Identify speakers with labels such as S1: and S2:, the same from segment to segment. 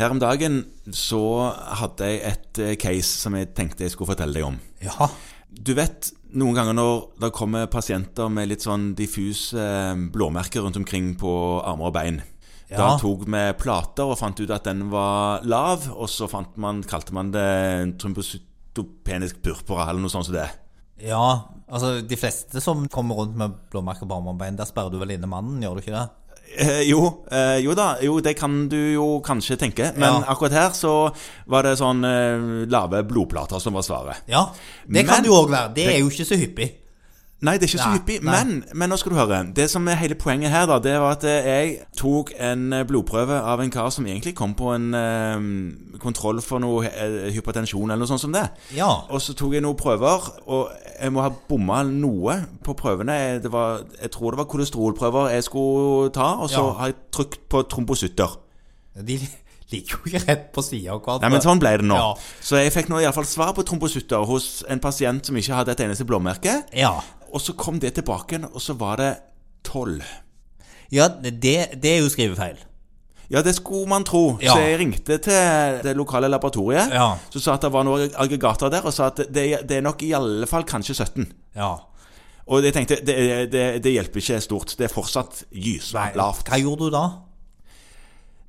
S1: Her om dagen så hadde jeg et eh, case som jeg tenkte jeg skulle fortelle deg om.
S2: Ja.
S1: Du vet noen ganger når det kommer pasienter med litt sånn diffuse eh, blåmerker rundt omkring på armer og bein. Da
S2: Ja.
S1: tok vi plater og fant ut at den var lav, og så fant man, kalte man det en trombocytopenisk purpura eller noe sånt som det.
S2: ja. Altså, de fleste som kommer rundt med blåmerker på armer og bein, der sperrer du vel inne mannen, gjør du ikke det?
S1: Eh, jo, eh, jo da, jo det kan du jo kanskje tenke, men
S2: Ja.
S1: akkurat her så var det sånn eh, lave blodplater som var svaret.
S2: Ja. Det
S1: Men-
S2: kan det jo òg være. Det er jo ikke så hyppig.
S1: Nei, det er ikke så
S2: Nei,
S1: hyppig,
S2: nei.
S1: men, men nå skal du høre. Det som er hele poenget her, da, det var at eh, jeg tok en eh, blodprøve av en kar som egentlig kom på en eh, kontroll for noe eh, hypertensjon eller noe sånt som det.
S2: Ja.
S1: Og så tok jeg noen prøver, og jeg må ha bomma noe på prøvene. Jeg- Det var, jeg tror det var kolesterolprøver jeg skulle ta, og så
S2: Ja.
S1: har jeg trykt på trombosytter.
S2: De ligger jo ikke rett på sida av hverandre.
S1: Nei, men sånn ble det nå.
S2: Ja.
S1: Så jeg fikk nå i alle fall svar på trombosytter hos en pasient som ikke hadde et eneste blåmerke.
S2: Ja.
S1: Og så kom det tilbake igjen, og så var det tolv.
S2: ja det, det er jo skrivefeil.
S1: Ja, det skulle man tro.
S2: Ja.
S1: Så jeg ringte til det lokale laboratoriet.
S2: Ja.
S1: Så sa at det var noen aggregater der, og sa at det, det er nok i alle fall kanskje 17.
S2: Ja.
S1: Og jeg tenkte, det, det, det hjelper ikke stort. Det er fortsatt gysla lavt.
S2: Hva gjorde du da?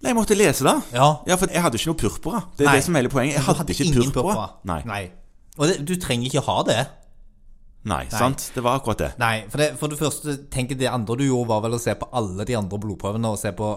S1: Nei, jeg måtte lese det.
S2: Ja.
S1: Ja, for jeg hadde ikke noe purpura. Det er
S2: Nei.
S1: det som er hele poenget. Jeg
S2: Du
S1: hadde, ikke
S2: ingen
S1: purpura. Nei. Nei.
S2: Og det, du trenger ikke ha det.
S1: sant? Det var akkurat det.
S2: Nei, for det, for det første tenker jeg det andre du gjorde, var vel å se på alle de andre blodprøvene og se på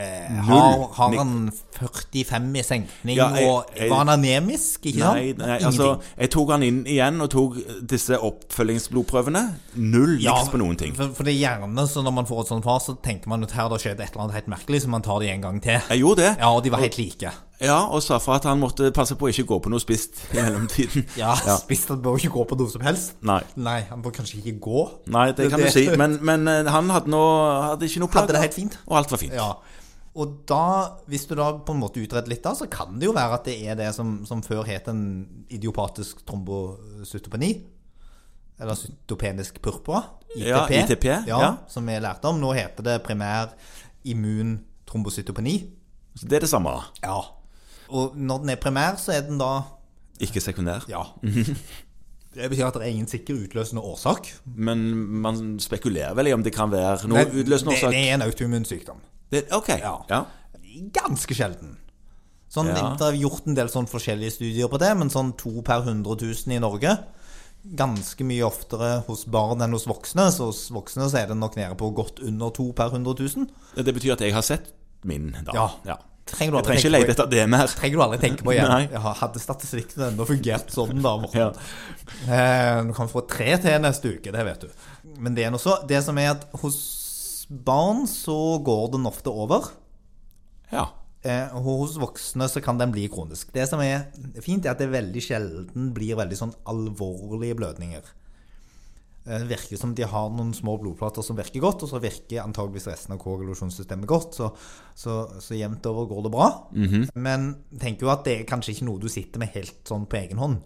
S2: eh, har,
S1: Null.
S2: har han 45 i senkning,
S1: Ja, jeg-
S2: og
S1: jeg-
S2: var han anemisk? Ikke
S1: Nei,
S2: sant?
S1: nei
S2: Ingenting.
S1: altså, jeg tok han inn igjen og tok disse oppfølgingsblodprøvene. Null
S2: Ja,
S1: niks på noen ting.
S2: For, for det er gjerne så når man får et sånt far, så tenker man at her det har skjedd et eller annet helt merkelig, så man tar de en gang til.
S1: Jeg gjorde det,
S2: Ja, og de var helt like.
S1: ja, og sa fra at han måtte passe på å ikke gå på noe spist i mellomtiden.
S2: Ja, Spist han bør ikke gå på noe som helst.
S1: Nei.
S2: Nei, han bør kanskje ikke gå.
S1: Nei, det kan du
S2: Det-
S1: si, men, men eh, han hadde, nå, hadde ikke noe
S2: Hadde
S1: plager.
S2: det helt fint.
S1: Og alt var fint.
S2: Ja. Og da, hvis du da på en måte utreder litt da, så kan det jo være at det er det som, som før het en idiopatisk trombocytopeni. Eller cytopenisk purpura. ITP.
S1: Ja, ITP,
S2: Ja,
S1: ja.
S2: Som vi lærte om. Nå heter det primær immun trombocytopeni.
S1: Så det er det samme.
S2: Ja. Og når den er primær, så er den da
S1: Ikke sekundær.
S2: Ja.
S1: Mhm.
S2: Det betyr at det er ingen sikker utløsende årsak.
S1: Men man spekulerer vel i om det kan være noe utløsende
S2: det,
S1: årsak.
S2: det er en autoimmun sykdom.
S1: Det- Ok.
S2: Ja.
S1: Ja.
S2: Ganske sjelden. Sånn,
S1: Ja.
S2: Det er gjort en del sånn forskjellige studier på det, men sånn to per 100 000 i Norge. Ganske mye oftere hos barn enn hos voksne. Så hos voksne så er det nok nede på godt under to per 100 000.
S1: Det betyr at jeg har sett min, da.
S2: Ja. Trenger
S1: Jeg trenger
S2: du aldri
S1: ikke
S2: tenke
S1: lete
S2: på,
S1: etter det mer.
S2: trenger du aldri tenke på igjen.
S1: Nei.
S2: Ja, hadde statistikken ennå fungert sånn, da,
S1: Ja.
S2: Morten. Eh, du kan få tre til neste uke, det vet du. Men det er nå så. Det som er at hos barn så går den ofte over.
S1: Ja.
S2: Eh, hos voksne så kan den bli kronisk. Det som er fint, er at det veldig sjelden blir veldig sånn alvorlige blødninger. Eh, Det virker som de har noen små blodplater som virker godt, og så virker antageligvis resten av koagulasjonssystemet godt, så, så, så jevnt over går det bra. Men tenk jo at det er kanskje ikke noe du sitter med helt sånn på egen hånd.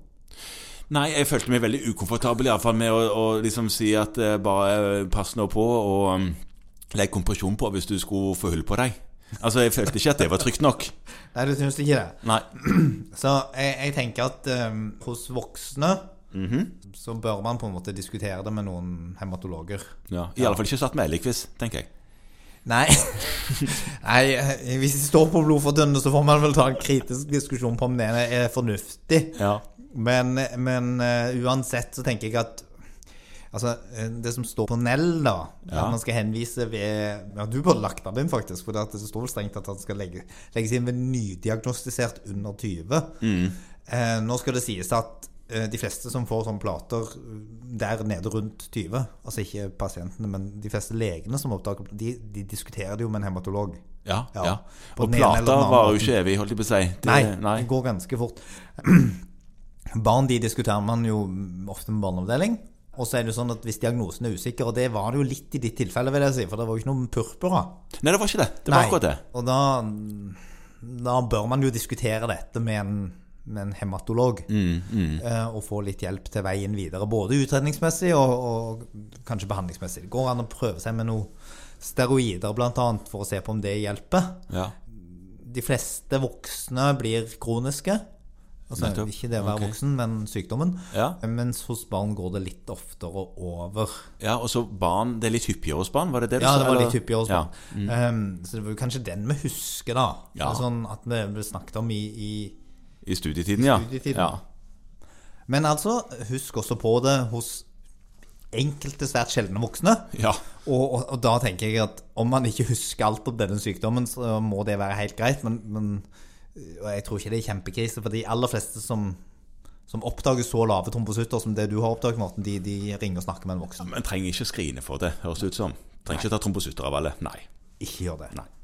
S1: Nei, jeg følte meg veldig ukomfortabel i alle fall med å, å liksom si at eh, bare eh, pass nå på og um, legg kompresjon på hvis du skulle få hull på deg. Altså, jeg følte ikke at det var trygt nok.
S2: Nei, du syns ikke det?
S1: Nei.
S2: Så jeg, jeg tenker at eh, hos voksne så bør man på en måte diskutere det med noen hematologer.
S1: Ja. I alle fall ikke satt med elgkviss, tenker jeg.
S2: Nei. Nei, eh, hvis de står på blodfordønnende, så får man vel ta en kritisk diskusjon på om det er fornuftig.
S1: Ja.
S2: Men, men eh, uansett så tenker jeg at Altså, eh, det som står på Nell, da
S1: Ja.
S2: At man skal henvise ved Ja, du burde lagt den inn, faktisk. For det at det står vel strengt at han skal legge, legges inn ved nydiagnostisert under 20.
S1: Mm.
S2: Eh, nå skal det sies at eh, de fleste som får sånne plater eh, der nede rundt 20, altså ikke pasientene, men de fleste legene som oppdager de, de diskuterer det jo med en hematolog.
S1: Ja.
S2: Ja.
S1: ja.
S2: På
S1: Og
S2: den ene eller den
S1: plata
S2: andre
S1: varer jo
S2: måten.
S1: ikke evig, holdt jeg på å si. Det-
S2: Nei,
S1: nei.
S2: det går ganske fort. Barn de diskuterer man jo ofte med barneavdeling. Og så er det jo sånn at hvis diagnosen er usikker, og det var det jo litt i ditt tilfelle, vil jeg si, for det var jo ikke noe purpura.
S1: nei, det var ikke det. Det var akkurat det.
S2: Og da, da bør man jo diskutere dette med en, med en hematolog.
S1: Mm,
S2: eh, Og få litt hjelp til veien videre, både utredningsmessig og, og kanskje behandlingsmessig. Det går an å prøve seg med noe steroider, blant annet, for å se på om det hjelper
S1: Ja.
S2: de fleste voksne blir kroniske. Altså,
S1: Nettopp.
S2: Ikke det å være
S1: Ok.
S2: voksen, men sykdommen.
S1: Ja.
S2: Mens hos barn går det litt oftere over.
S1: Ja, og så barn Det er litt hyppigere hos barn, var det det du
S2: Ja,
S1: sa?
S2: det var
S1: eller?
S2: litt hyppig hos
S1: Ja. Mm.
S2: barn. Ehm, så det var jo kanskje den vi husker, da.
S1: Ja.
S2: Sånn at vi vi snakket om i, i
S1: I studietiden, ja.
S2: studietiden.
S1: ja.
S2: Men altså, husk også på det hos enkelte svært sjeldne voksne.
S1: Ja.
S2: Og, og, og da tenker jeg at om man ikke husker alt om denne sykdommen, så må det være helt greit. Men, men og jeg tror ikke det er kjempekrise, for de aller fleste som, som oppdager så lave trombosutter som det du har oppdaget, Morten, de, de ringer og snakker med en voksen.
S1: Men trenger ikke skrine for det, høres det ut som. Trenger ikke ta trombosutter av alle. Nei.
S2: Ikke gjør det.
S1: Nei.